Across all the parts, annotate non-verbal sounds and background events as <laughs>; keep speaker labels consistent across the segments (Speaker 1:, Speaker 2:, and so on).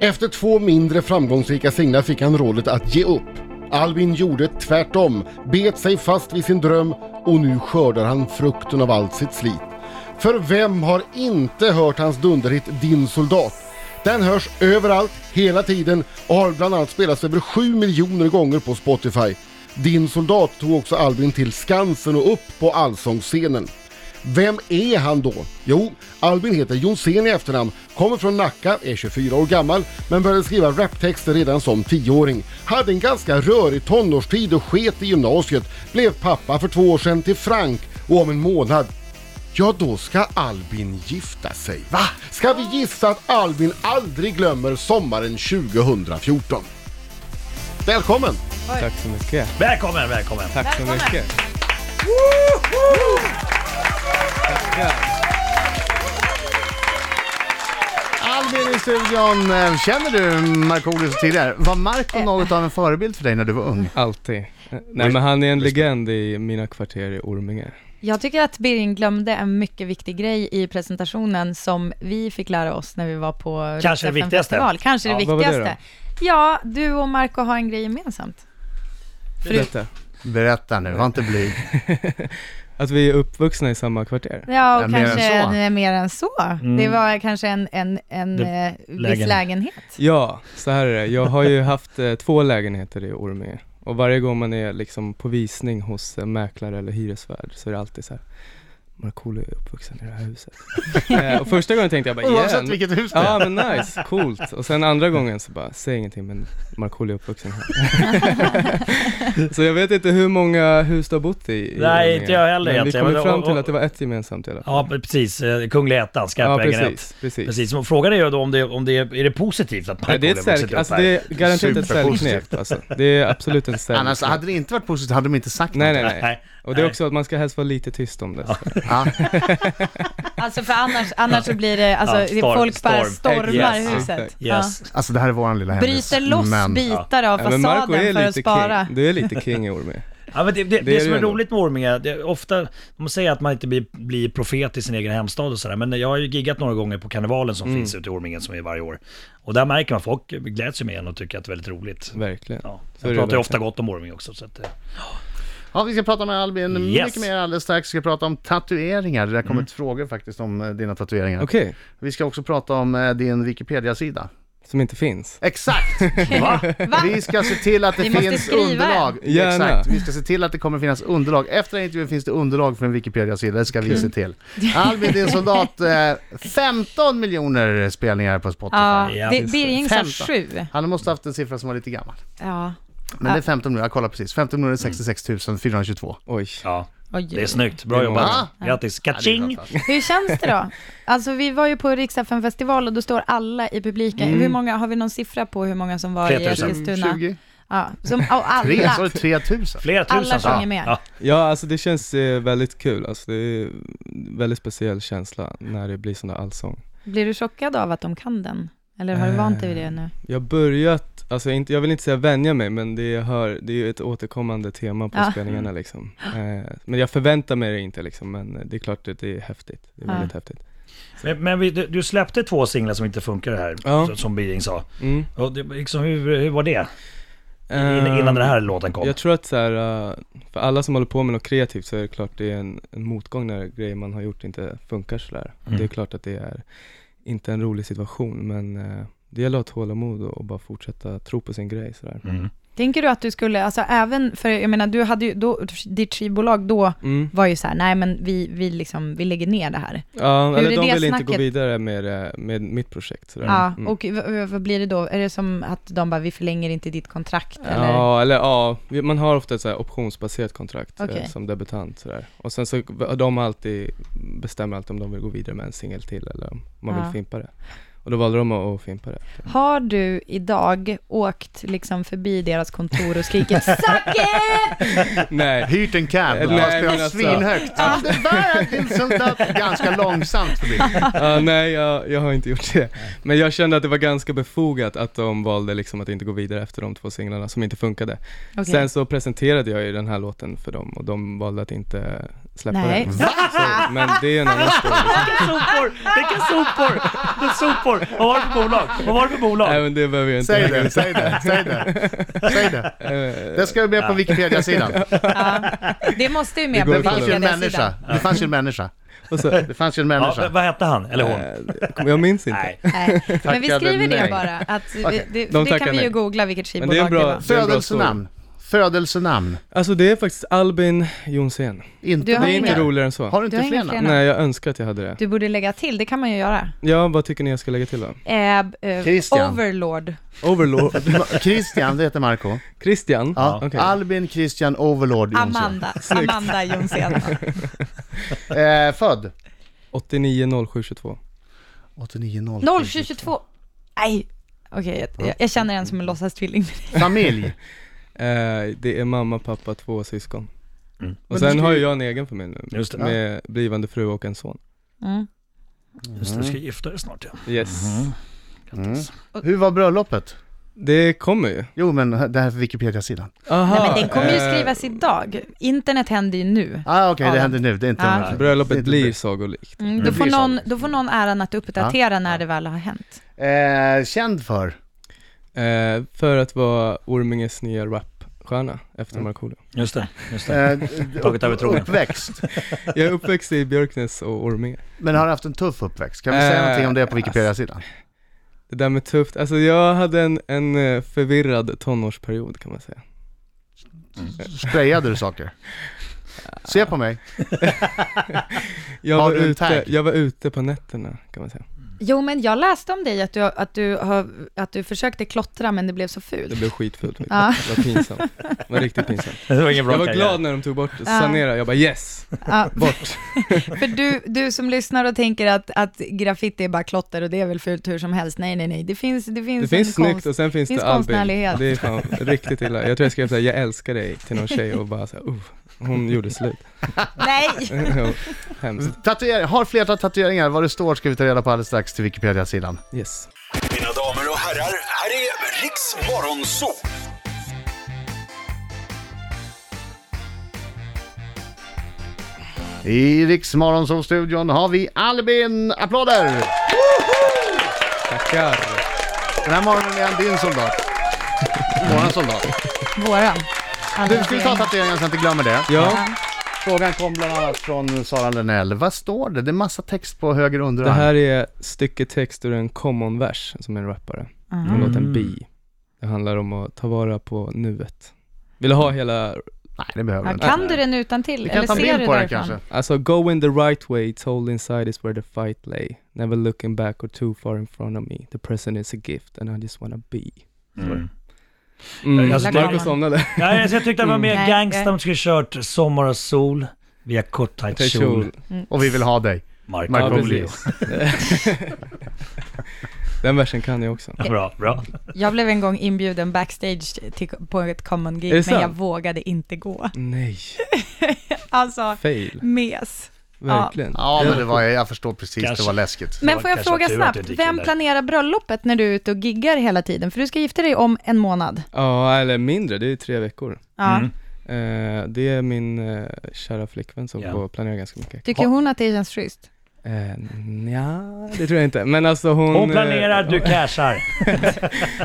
Speaker 1: Efter två mindre framgångsrika singlar fick han rådet att ge upp. Albin gjorde tvärtom, bet sig fast vid sin dröm och nu skördar han frukten av allt sitt slit. För vem har inte hört hans dunderhit Din soldat? Den hörs överallt, hela tiden och har bland annat spelats över 7 miljoner gånger på Spotify. Din soldat tog också Albin till Skansen och upp på Allsångsscenen. Vem är han då? Jo, Albin heter Jonsén i efternamn, kommer från Nacka, är 24 år gammal, men började skriva raptexter redan som 10-åring. Hade en ganska rörig tonårstid och sket i gymnasiet, blev pappa för två år sedan till Frank och om en månad Ja, då ska Albin gifta sig. Va? Ska vi gissa att Albin aldrig glömmer sommaren 2014? Välkommen!
Speaker 2: Tack så mycket.
Speaker 3: Välkommen, välkommen!
Speaker 2: Tack så
Speaker 4: Välkommen.
Speaker 2: mycket. Tackar.
Speaker 5: Albin i studion, eh, känner du Markoolio så tidigare? Var
Speaker 4: Eh.
Speaker 5: Marko något av en förebild för dig när du var ung?
Speaker 2: Alltid. Nej men han är en legend i mina kvarter i Orminge.
Speaker 4: Jag tycker att Birgin glömde en mycket viktig grej i presentationen som vi fick lära oss när vi var på
Speaker 3: Kanske det
Speaker 4: Riksdagen
Speaker 3: viktigaste.
Speaker 4: Festival. Kanske det
Speaker 2: Ja, vad var det
Speaker 4: viktigaste. Ja, du och Marco har en grej gemensamt.
Speaker 2: Berätta.
Speaker 5: Berätta nu, var inte blyg.
Speaker 2: Att vi är uppvuxna i samma kvarter.
Speaker 4: Ja,
Speaker 5: Ja,
Speaker 4: och
Speaker 5: mer än
Speaker 4: kanske
Speaker 5: så.
Speaker 4: mer, mer än så. Det var kanske en, en, en
Speaker 3: Mm. Det-
Speaker 4: eh, viss
Speaker 3: lägen-
Speaker 4: lägenhet.
Speaker 2: <laughs> Ja, så här är det. Jag har ju haft eh, två lägenheter i Orminge och varje gång man är liksom på visning hos eh, mäklare eller hyresvärd så är det alltid så här Markoolio är uppvuxen i det här
Speaker 3: <laughs>
Speaker 2: huset. eh, och första gången tänkte jag bara
Speaker 5: Oavsett
Speaker 2: igen.
Speaker 5: vilket hus det är.
Speaker 2: Ja men nice, coolt. Och sen andra gången så bara, säg ingenting men Markoolio är uppvuxen här.
Speaker 3: <laughs>
Speaker 2: så jag vet inte hur många hus du har bott i. i
Speaker 3: Nej,
Speaker 2: Orminge.
Speaker 3: inte jag heller
Speaker 2: Men vi
Speaker 3: egentligen.
Speaker 2: kom ju
Speaker 3: Men-
Speaker 2: fram
Speaker 3: och-
Speaker 2: till
Speaker 3: och-
Speaker 2: att det var ett gemensamt i alla fall.
Speaker 3: Ja, precis. Eh, Kungliga ettan, Skarpäggen ett.
Speaker 2: precis, precis.
Speaker 3: Precis, och frågan är ju då om det, om det är, är det positivt
Speaker 2: Nej,
Speaker 3: att Markoolio
Speaker 2: det är ett
Speaker 3: vuxit
Speaker 2: särk,
Speaker 3: upp
Speaker 2: alltså
Speaker 3: här?
Speaker 2: det är garanterat ett
Speaker 5: Superpositivt.
Speaker 2: särknep alltså. Det är
Speaker 4: <laughs>
Speaker 2: absolut en särknep.
Speaker 5: Annars hade det inte varit positivt, hade de inte sagt
Speaker 2: Nej,
Speaker 5: något.
Speaker 2: nej, nej.
Speaker 3: Nej,
Speaker 2: Och det är
Speaker 3: nej.
Speaker 2: också att man ska helst vara lite tyst om det. så.
Speaker 5: Ja,
Speaker 4: Alltså för annars, annars så blir det, alltså
Speaker 3: Ja,
Speaker 4: det-
Speaker 3: storm-
Speaker 4: folk bara
Speaker 3: storm.
Speaker 4: stormar
Speaker 3: Yes.
Speaker 4: huset.
Speaker 2: Exakt.
Speaker 3: Yes.
Speaker 5: alltså det här är våran lilla
Speaker 4: Ja.
Speaker 5: hemlis.
Speaker 4: Bryter loss bitar av
Speaker 2: Ja, men Marco
Speaker 4: fasaden
Speaker 2: är
Speaker 4: för att
Speaker 2: lite
Speaker 4: spara.
Speaker 2: king. Du är lite king i Orminge.
Speaker 3: Ja, men det, det, det,
Speaker 2: Det är
Speaker 3: som
Speaker 2: det
Speaker 3: är
Speaker 2: ändå.
Speaker 3: roligt med Orminge, det är ofta, de säger att man inte blir, blir profet i sin egen hemstad och sådär, men jag har ju giggat några gånger på karnevalen som
Speaker 2: Mm.
Speaker 3: finns ute i Orminge som är varje år. Och där märker man folk gläds ju med en och tycker att det är väldigt roligt.
Speaker 2: Verkligen.
Speaker 3: Ja.
Speaker 2: Så är det
Speaker 3: Jag pratar ju
Speaker 2: verkligen.
Speaker 3: ofta gott om Orminge också. Så att, eh,
Speaker 5: Ja, vi ska prata med Albin
Speaker 3: Yes.
Speaker 5: mycket mer alldeles strax. Vi ska prata om tatueringar. Det har kommit frågor faktiskt om eh, dina tatueringar.
Speaker 2: Mm. Okej,
Speaker 5: Vi ska också prata om eh, din Wikipedia-sida.
Speaker 2: som inte finns.
Speaker 5: Exakt!
Speaker 3: va?
Speaker 4: <laughs> Va?
Speaker 5: Vi ska se till att det
Speaker 4: Ni måste
Speaker 5: finns
Speaker 4: skriva en.
Speaker 5: underlag.
Speaker 2: Gärna.
Speaker 5: Exakt. Vi ska se till att det kommer finnas underlag. Efter den intervjun finns det underlag för en Wikipedia-sida. Det ska vi se till. Albin, din soldat. eh, 15 miljoner spelningar på Spotify.
Speaker 4: Ja,
Speaker 3: Ja,
Speaker 4: det,
Speaker 3: just
Speaker 4: Birging sa
Speaker 5: Femton.
Speaker 4: sju.
Speaker 5: Han måste ha haft en siffra som var lite gammal.
Speaker 4: Ja.
Speaker 5: Men det är 15 miljoner, jag kollar precis. 15 miljoner är 66 422.
Speaker 2: Oj.
Speaker 3: Ja,
Speaker 4: Oj,
Speaker 3: det är
Speaker 4: oj.
Speaker 3: snyggt. Bra
Speaker 2: Det är
Speaker 3: jobbat.
Speaker 5: många.
Speaker 3: Grattis.
Speaker 5: Ja, det är
Speaker 3: Kaching!
Speaker 5: fantastiskt.
Speaker 4: Hur känns det då? Alltså vi var ju på riksdagen festival och då står alla i publiken. Hur många, har vi någon siffra på hur många som var i
Speaker 3: 3000.
Speaker 4: Eskilstuna?
Speaker 5: 20?
Speaker 4: Ja, som, och
Speaker 5: Tre, så är
Speaker 4: alla.
Speaker 5: det 3000.
Speaker 3: Flera tusen.
Speaker 4: Alla
Speaker 3: så.
Speaker 4: sjunger med.
Speaker 3: Ja.
Speaker 2: Ja, alltså det känns eh, väldigt kul. Alltså det är en väldigt speciell känsla när det blir sån där allsång.
Speaker 4: Blir du chockad av att de kan den? Eller har du vant dig vid det nu?
Speaker 2: Jag har börjat, alltså jag inte, jag vill inte säga vänja mig, men det, jag hör, det är ju ett återkommande tema på
Speaker 4: Ja.
Speaker 2: spelningarna liksom. Eh, men jag förväntar mig det inte liksom, men eh, det är klart att det är häftigt. Det är
Speaker 4: Ja.
Speaker 2: väldigt häftigt.
Speaker 3: Men, men vi, du, du släppte två singlar som inte funkar här,
Speaker 2: Ja.
Speaker 3: så- som Biring sa.
Speaker 2: Mm.
Speaker 3: Och det, liksom, hur, hur var det?
Speaker 2: Eh,
Speaker 3: Innan, innan den här låten kom?
Speaker 2: Jag tror att så här, eh, för alla som håller på med något kreativt så är det klart det är en, en motgång när grejer man har gjort inte funkar sådär.
Speaker 3: Mm.
Speaker 2: Det är klart att det är inte en rolig situation men eh, det gäller att ha tålamod och, och bara fortsätta tro på sin grej sådär.
Speaker 3: Mm.
Speaker 4: Tänker du att du skulle, alltså även för, jag menar du hade ju, då, ditt skivbolag då
Speaker 2: Mm.
Speaker 4: var ju så här, nej men vi, vi liksom, vi lägger ner det här.
Speaker 2: Ja,
Speaker 4: Hur
Speaker 2: eller
Speaker 4: är
Speaker 2: de
Speaker 4: det
Speaker 2: vill inte
Speaker 4: snacket?
Speaker 2: gå vidare med, det- med mitt projekt sådär.
Speaker 4: Ja,
Speaker 2: Mm.
Speaker 4: och v- v- vad blir det då? Är det som att de bara, vi förlänger inte ditt kontrakt? Eller?
Speaker 2: Ja, eller ja, vi- man har ofta ett så här optionsbaserat kontrakt eh,
Speaker 4: Okej.
Speaker 2: som debutant sådär. Och sen så, de har alltid, bestämmer alltid om de vill gå vidare med en singel till eller om man
Speaker 4: Ja.
Speaker 2: vill fimpa det. Och då valde de att att fimpa det. <laughs>
Speaker 4: Har du idag åkt liksom förbi deras kontor och skrikit Suck it!
Speaker 2: Nej,
Speaker 5: Hyrt en cab,
Speaker 2: Nej,
Speaker 5: de har
Speaker 2: men
Speaker 5: spelat
Speaker 2: alltså-
Speaker 5: svinhögt. Ja, det där är din soldat. Ganska långsamt förbi.
Speaker 2: Ja, nej, jag, jag har inte gjort det. Men jag kände att det var ganska befogat att de valde liksom att inte gå vidare efter de två singlarna som inte funkade.
Speaker 4: Okej.
Speaker 2: Sen så presenterade jag ju den här låten för dem och de valde att inte släppa
Speaker 4: Nej.
Speaker 2: den. Så, men det är en
Speaker 4: <laughs>
Speaker 2: annan story.
Speaker 3: Vilka sopor! Vilka sopor! Det är sopor! Vad var det för bolag? Vad var det för bolag?
Speaker 2: Nej men det behöver jag inte.
Speaker 5: Säg det, säg det, säg det. Säg det.
Speaker 2: <laughs>
Speaker 5: Det ska vi med på Wikipedia-sidan.
Speaker 4: Det måste ju
Speaker 2: Det
Speaker 4: med
Speaker 2: går
Speaker 4: på
Speaker 5: Det fanns ju en människa.
Speaker 4: Wikipedia-sidan.
Speaker 5: Det fanns ju en människa.
Speaker 2: Och så,
Speaker 5: Det fanns ju en
Speaker 3: Ja, v-
Speaker 5: människa.
Speaker 3: vad hette han? Eller hon?
Speaker 2: eh, jag minns inte.
Speaker 3: Nej.
Speaker 4: Nej. Men vi
Speaker 5: Tackade
Speaker 4: skriver
Speaker 5: nej.
Speaker 4: det bara. Att vi-
Speaker 5: Okej.
Speaker 4: det,
Speaker 2: De
Speaker 4: det
Speaker 2: tackar
Speaker 4: kan vi ju
Speaker 2: nej.
Speaker 4: googla vilket
Speaker 2: Men det är
Speaker 4: skivbolag
Speaker 2: en
Speaker 4: det,
Speaker 2: bra,
Speaker 4: var.
Speaker 2: det är en bra story.
Speaker 5: Födelsenamn. Födelsenamn.
Speaker 2: Alltså det är faktiskt Albin Jonsén.
Speaker 5: Inte
Speaker 4: Du har
Speaker 2: Det är
Speaker 4: inga-
Speaker 2: inte
Speaker 5: mer.
Speaker 2: roligare än så.
Speaker 5: Har du
Speaker 4: Du
Speaker 5: inte
Speaker 4: har
Speaker 5: fler
Speaker 4: inga fler
Speaker 5: namn?
Speaker 4: namn.
Speaker 2: Nej, jag önskar att jag hade det.
Speaker 4: Du borde lägga till, det kan man ju göra.
Speaker 2: Ja, vad tycker ni jag ska lägga till då?
Speaker 4: Eh, eh,
Speaker 5: Christian.
Speaker 4: Overlord. <laughs>
Speaker 2: Overlord.
Speaker 5: Ma- <laughs> Christian, det heter Marco.
Speaker 2: Christian?
Speaker 5: Ja.
Speaker 2: Okej.
Speaker 5: Albin Christian Overlord
Speaker 2: <laughs>
Speaker 5: Jonsson.
Speaker 4: Amanda. Amanda Jonsén.
Speaker 5: Eh, född?
Speaker 2: 890722.
Speaker 5: 89
Speaker 4: 0722. Nej. Okej, jag, jag känner en som en låtsastvilling.
Speaker 5: Familj?
Speaker 2: Eh, det är mamma, pappa, två syskon.
Speaker 3: Mm.
Speaker 2: Och
Speaker 5: Men du
Speaker 2: sen
Speaker 5: ska
Speaker 2: har
Speaker 5: ju-
Speaker 2: ju jag en egen familj nu.
Speaker 3: Just det.
Speaker 2: Med blivande fru och en son.
Speaker 4: Mm.
Speaker 3: Just det, du ska
Speaker 2: Mm.
Speaker 3: gifta dig snart ja.
Speaker 2: Yes.
Speaker 5: Mm-hmm.
Speaker 3: Grattis.
Speaker 2: Mm.
Speaker 5: Hur var bröllopet?
Speaker 2: Det kommer ju.
Speaker 5: Jo, men det här är Wikipedia-sidan.
Speaker 2: Aha,
Speaker 4: Nej, men den kommer ju
Speaker 2: eh,
Speaker 4: skrivas idag. Internet händer ju nu.
Speaker 5: Ah, Okej, det
Speaker 4: Ja.
Speaker 5: händer nu. Det är inte
Speaker 4: Ja.
Speaker 5: det här.
Speaker 2: Bröllopet
Speaker 5: Det är
Speaker 2: blir
Speaker 5: inte-
Speaker 2: sagolikt.
Speaker 4: Mm,
Speaker 5: Det
Speaker 4: då,
Speaker 5: blir
Speaker 4: får
Speaker 5: så.
Speaker 4: någon, då får någon äran att uppdatera när det väl har hänt.
Speaker 5: Eh, känd för?
Speaker 2: Eh, för att vara Orminges nya rapstjärna
Speaker 5: Mm.
Speaker 2: efter Markoolio.
Speaker 3: Just det, just det.
Speaker 5: Eh,
Speaker 3: <laughs> Tagit över tronen.
Speaker 5: Uppväxt.
Speaker 2: Jag är uppväxt i Björknäs och Orminge.
Speaker 5: Men har haft en tuff uppväxt. Kan vi säga
Speaker 2: Eh,
Speaker 5: någonting om det på Wikipedia-sidan?
Speaker 2: Det där med tufft, alltså jag hade en, en eh, förvirrad tonårsperiod kan man säga.
Speaker 5: Sprayade du saker? Se på mig.
Speaker 2: Jag
Speaker 5: Har
Speaker 2: var,
Speaker 5: du en
Speaker 2: ute,
Speaker 5: tag?
Speaker 2: jag var ute på nätterna kan man säga.
Speaker 4: Jo, men jag läste om dig att du, att du, har, att du försökte klottra men det blev så
Speaker 2: Det
Speaker 4: fult.
Speaker 2: blev skitfult faktiskt.
Speaker 4: Ja.
Speaker 2: Det var pinsamt. Det var riktigt pinsamt.
Speaker 3: Det var ingen bra
Speaker 2: Jag var
Speaker 3: karriär.
Speaker 2: glad när de tog bort det, sanera, jag bara yes!
Speaker 4: Ja,
Speaker 2: Bort!
Speaker 4: för du, du som lyssnar och tänker att, att graffiti är bara klotter och det är väl fult hur som helst. Nej, nej, nej. Det finns, det finns,
Speaker 2: Det finns
Speaker 4: en konst-
Speaker 2: snyggt och sen finns
Speaker 4: finns
Speaker 2: det Albin.
Speaker 4: konstnärlighet.
Speaker 2: Det är fan riktigt illa. Jag tror jag skrev såhär, jag älskar dig till någon tjej och bara såhär, uh, hon gjorde slut.
Speaker 4: Nej!
Speaker 5: <laughs>
Speaker 2: Hemskt.
Speaker 5: Tatuering, har flera tatueringar. Vad det står ska vi ta reda på alldeles strax till Wikipedia-sidan.
Speaker 2: Yes.
Speaker 6: Mina damer och herrar, här är Riks Morgonzoo!
Speaker 5: I Riks Morgonzoo-studion har vi Albin. Applåder!
Speaker 2: Tackar!
Speaker 5: Den här morgonen är han din soldat. Våran soldat.
Speaker 4: Våran. Alltså,
Speaker 5: Du, ska vi ta tatueringen så jag inte glömmer det?
Speaker 2: Ja,
Speaker 5: Frågan kom bland annat från Sara Lennell. Vad står det? Det är massa text på höger
Speaker 2: det
Speaker 5: underarm.
Speaker 2: här är stycke text ur en common vers som är en rappare.
Speaker 4: Mm.
Speaker 2: Från låten Bi. Det handlar om att ta vara på nuet. Vill du ha hela,
Speaker 5: Nej, det behöver vi
Speaker 4: Ja,
Speaker 5: inte.
Speaker 4: kan du den utan till?
Speaker 5: Vi kan
Speaker 4: Eller
Speaker 5: ta en
Speaker 4: ser
Speaker 5: bild
Speaker 4: du
Speaker 5: på den
Speaker 4: därifrån?
Speaker 5: kanske.
Speaker 2: alltså go in the right way, it's all inside is where the fight lay. Never looking back or too far in front of me. The present is a gift and I just wanna be.
Speaker 3: Mm.
Speaker 2: Mm.
Speaker 3: Alltså,
Speaker 2: Marcus
Speaker 4: man-
Speaker 2: somnade.
Speaker 3: Nej, alltså, jag tyckte det var mer
Speaker 4: Mm.
Speaker 3: gangsta om de skulle kört Sommar och sol via kort tajt kjol.
Speaker 5: Och vi vill ha dig.
Speaker 2: Ja,
Speaker 5: Markoolio.
Speaker 2: precis. <laughs> Den versen kan jag också.
Speaker 3: Bra, bra.
Speaker 4: Jag blev en gång inbjuden backstage till, på ett common
Speaker 2: Är
Speaker 4: gig,
Speaker 2: det
Speaker 4: men
Speaker 2: sant?
Speaker 4: jag vågade inte gå.
Speaker 2: Nej,
Speaker 4: Alltså,
Speaker 2: fail.
Speaker 4: mes.
Speaker 2: Verkligen.
Speaker 5: Ja, men det var, jag förstår precis.
Speaker 3: Kanske.
Speaker 5: Det var läskigt.
Speaker 4: Men
Speaker 3: var
Speaker 4: får jag
Speaker 3: kanske
Speaker 4: fråga
Speaker 3: tur att
Speaker 4: snabbt,
Speaker 3: det inte gick
Speaker 4: vem
Speaker 3: där.
Speaker 4: planerar bröllopet när du är ute och giggar hela tiden? För du ska gifta dig om en månad.
Speaker 2: Ja, eller mindre, det är tre veckor.
Speaker 4: Ja.
Speaker 3: Mm.
Speaker 2: Eh, det är min eh, kära flickvän som
Speaker 3: Ja.
Speaker 2: får planera ganska mycket.
Speaker 4: Tycker hon att det känns schysst?
Speaker 2: Uh, ja, det tror jag inte. Men alltså hon...
Speaker 3: Hon planerar,
Speaker 2: eh,
Speaker 3: du cashar.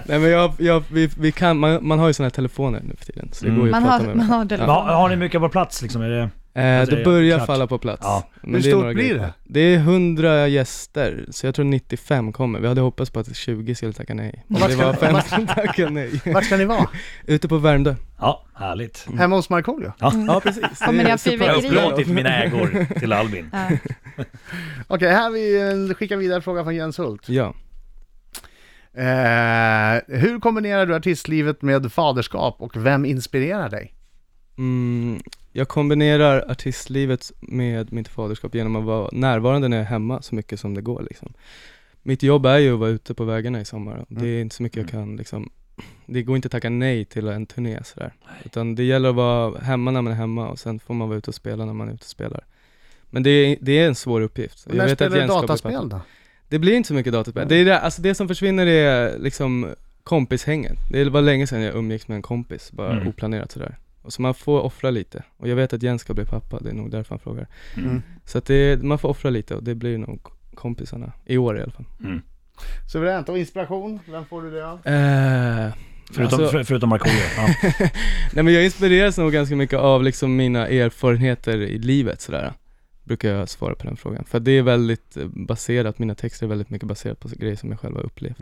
Speaker 2: Nej men jag, jag vi, vi kan, man, man har ju såna här telefoner nu för tiden, så det
Speaker 3: Mm.
Speaker 2: går ju att
Speaker 4: Man
Speaker 2: prata
Speaker 4: har,
Speaker 2: med
Speaker 4: man
Speaker 2: varandra.
Speaker 4: har det.
Speaker 3: Men Har, har ni mycket på plats liksom? Är det...
Speaker 2: Eh,
Speaker 3: Alltså,
Speaker 2: det börjar
Speaker 3: klart.
Speaker 2: falla på plats.
Speaker 3: Ja.
Speaker 2: Men
Speaker 5: Hur
Speaker 2: det är
Speaker 5: stort
Speaker 2: några
Speaker 5: blir
Speaker 2: grejer
Speaker 5: det?
Speaker 2: kvar. Det är 100 gäster, så jag tror 95 kommer. Vi hade hoppats på att 20 skulle tacka nej. Men
Speaker 5: vart
Speaker 2: det
Speaker 5: ska-
Speaker 2: var 5 som tackade nej.
Speaker 5: Vart ska ni vara?
Speaker 2: Ute på Värmdö.
Speaker 3: Ja, härligt.
Speaker 5: Mm. Hemma hos Markoolio?
Speaker 2: Ja precis.
Speaker 4: Kommer
Speaker 2: är
Speaker 4: ni ha
Speaker 2: surprise.
Speaker 3: Jag har
Speaker 4: fyrverkerier? Fyrverkeri.
Speaker 3: upplåtit mina ägor till Albin.
Speaker 4: Ja.
Speaker 5: Okej, här vi eh, skickar vidare frågan från Jens Hult.
Speaker 2: Ja.
Speaker 5: Eh, hur kombinerar du artistlivet med faderskap och vem inspirerar dig?
Speaker 2: Mm, jag kombinerar artistlivet med mitt faderskap genom att vara närvarande när jag är hemma så mycket som det går liksom. Mitt jobb är ju att vara ute på vägarna i sommar. och
Speaker 5: Mm.
Speaker 2: Det är inte så mycket jag kan liksom, det går inte att tacka nej till en turné sådär. Utan det gäller att vara hemma när man är hemma och sen får man vara ute och spela när man är ute och spelar. Men det är, det är en svår uppgift.
Speaker 5: När spelar du
Speaker 2: Jens ska bli pappa.
Speaker 5: dataspel då?
Speaker 2: Det blir inte så mycket dataspel. Det, är det, alltså det som försvinner är liksom kompishängen. Det var länge sedan jag umgicks med en kompis, bara
Speaker 3: Mm.
Speaker 2: oplanerat sådär. Och Så man får offra lite. Och jag vet att Jens ska bli pappa, det är nog därför han frågar.
Speaker 3: Mm.
Speaker 2: Så att det, man får offra lite och det blir nog kompisarna, i år i alla fall.
Speaker 5: Suveränt. Och inspiration, vem får du det av?
Speaker 2: Eh,
Speaker 3: Förutom,
Speaker 2: alltså-
Speaker 3: för, förutom Markoolio.
Speaker 2: <laughs>
Speaker 3: Ja.
Speaker 2: Nej men jag inspireras nog ganska mycket av liksom mina erfarenheter i livet sådär. Brukar jag svara på den frågan. För det är väldigt eh, baserat, mina texter är väldigt mycket baserat på grejer som jag själv har upplevt.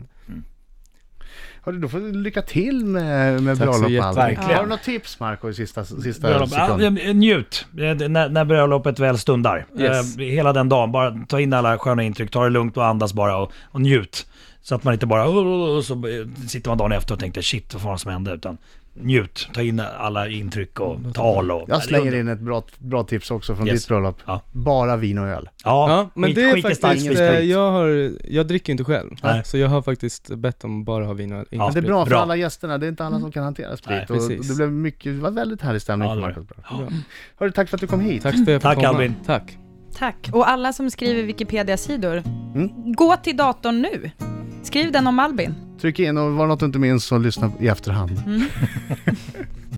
Speaker 5: Hörru, då får du lycka till med, med
Speaker 2: Tack så
Speaker 5: bröllop och allt.
Speaker 2: jättemycket.
Speaker 5: Har du något tips Marco i sista, sista
Speaker 3: Bröllop. Ja,
Speaker 5: sekund?
Speaker 3: eh, njut eh, när, när bröllopet väl stundar.
Speaker 2: Yes.
Speaker 3: Eh, hela den dagen, bara ta in alla sköna intryck, ta det lugnt och andas bara och, och njut. Så att man inte bara, oh, "Åh, åh, åh", och så eh, sitter man dagen efter och tänker shit vad fan som hände. Utan njut, ta in alla intryck
Speaker 2: Mm.
Speaker 3: och tal och...
Speaker 5: Jag slänger in ett bra, bra tips också från
Speaker 3: Yes.
Speaker 5: ditt bröllop.
Speaker 3: Ja.
Speaker 5: Bara vin och öl.
Speaker 3: Ja,
Speaker 2: Ja, men
Speaker 3: skit-
Speaker 2: det är
Speaker 3: skit i starkt
Speaker 2: faktiskt,
Speaker 5: sprit.
Speaker 2: eh, jag har, jag dricker ju inte själv.
Speaker 3: Nej.
Speaker 2: Så jag har faktiskt bett om bara ha vin och ingen
Speaker 3: Ja,
Speaker 5: Men det är
Speaker 2: sprit.
Speaker 5: bra för
Speaker 3: Bra. Mm.
Speaker 5: alla gästerna, det är inte alla som kan hantera sprit.
Speaker 3: Nej,
Speaker 5: och
Speaker 2: precis.
Speaker 5: det, blev mycket, det var väldigt härlig stämning
Speaker 3: Ja,
Speaker 5: på
Speaker 3: det var det.
Speaker 5: Marcos bröllop. Hörru, tack för att du kom hit.
Speaker 2: Tack för att jag fick
Speaker 3: Tack,
Speaker 2: komma.
Speaker 3: Albin.
Speaker 2: Tack.
Speaker 4: Tack. Och alla som skriver Wikipedia-sidor,
Speaker 3: Mm.
Speaker 4: gå till datorn nu. Skriv den om Albin.
Speaker 5: Tryck in och var det något du inte minns så lyssna i efterhand.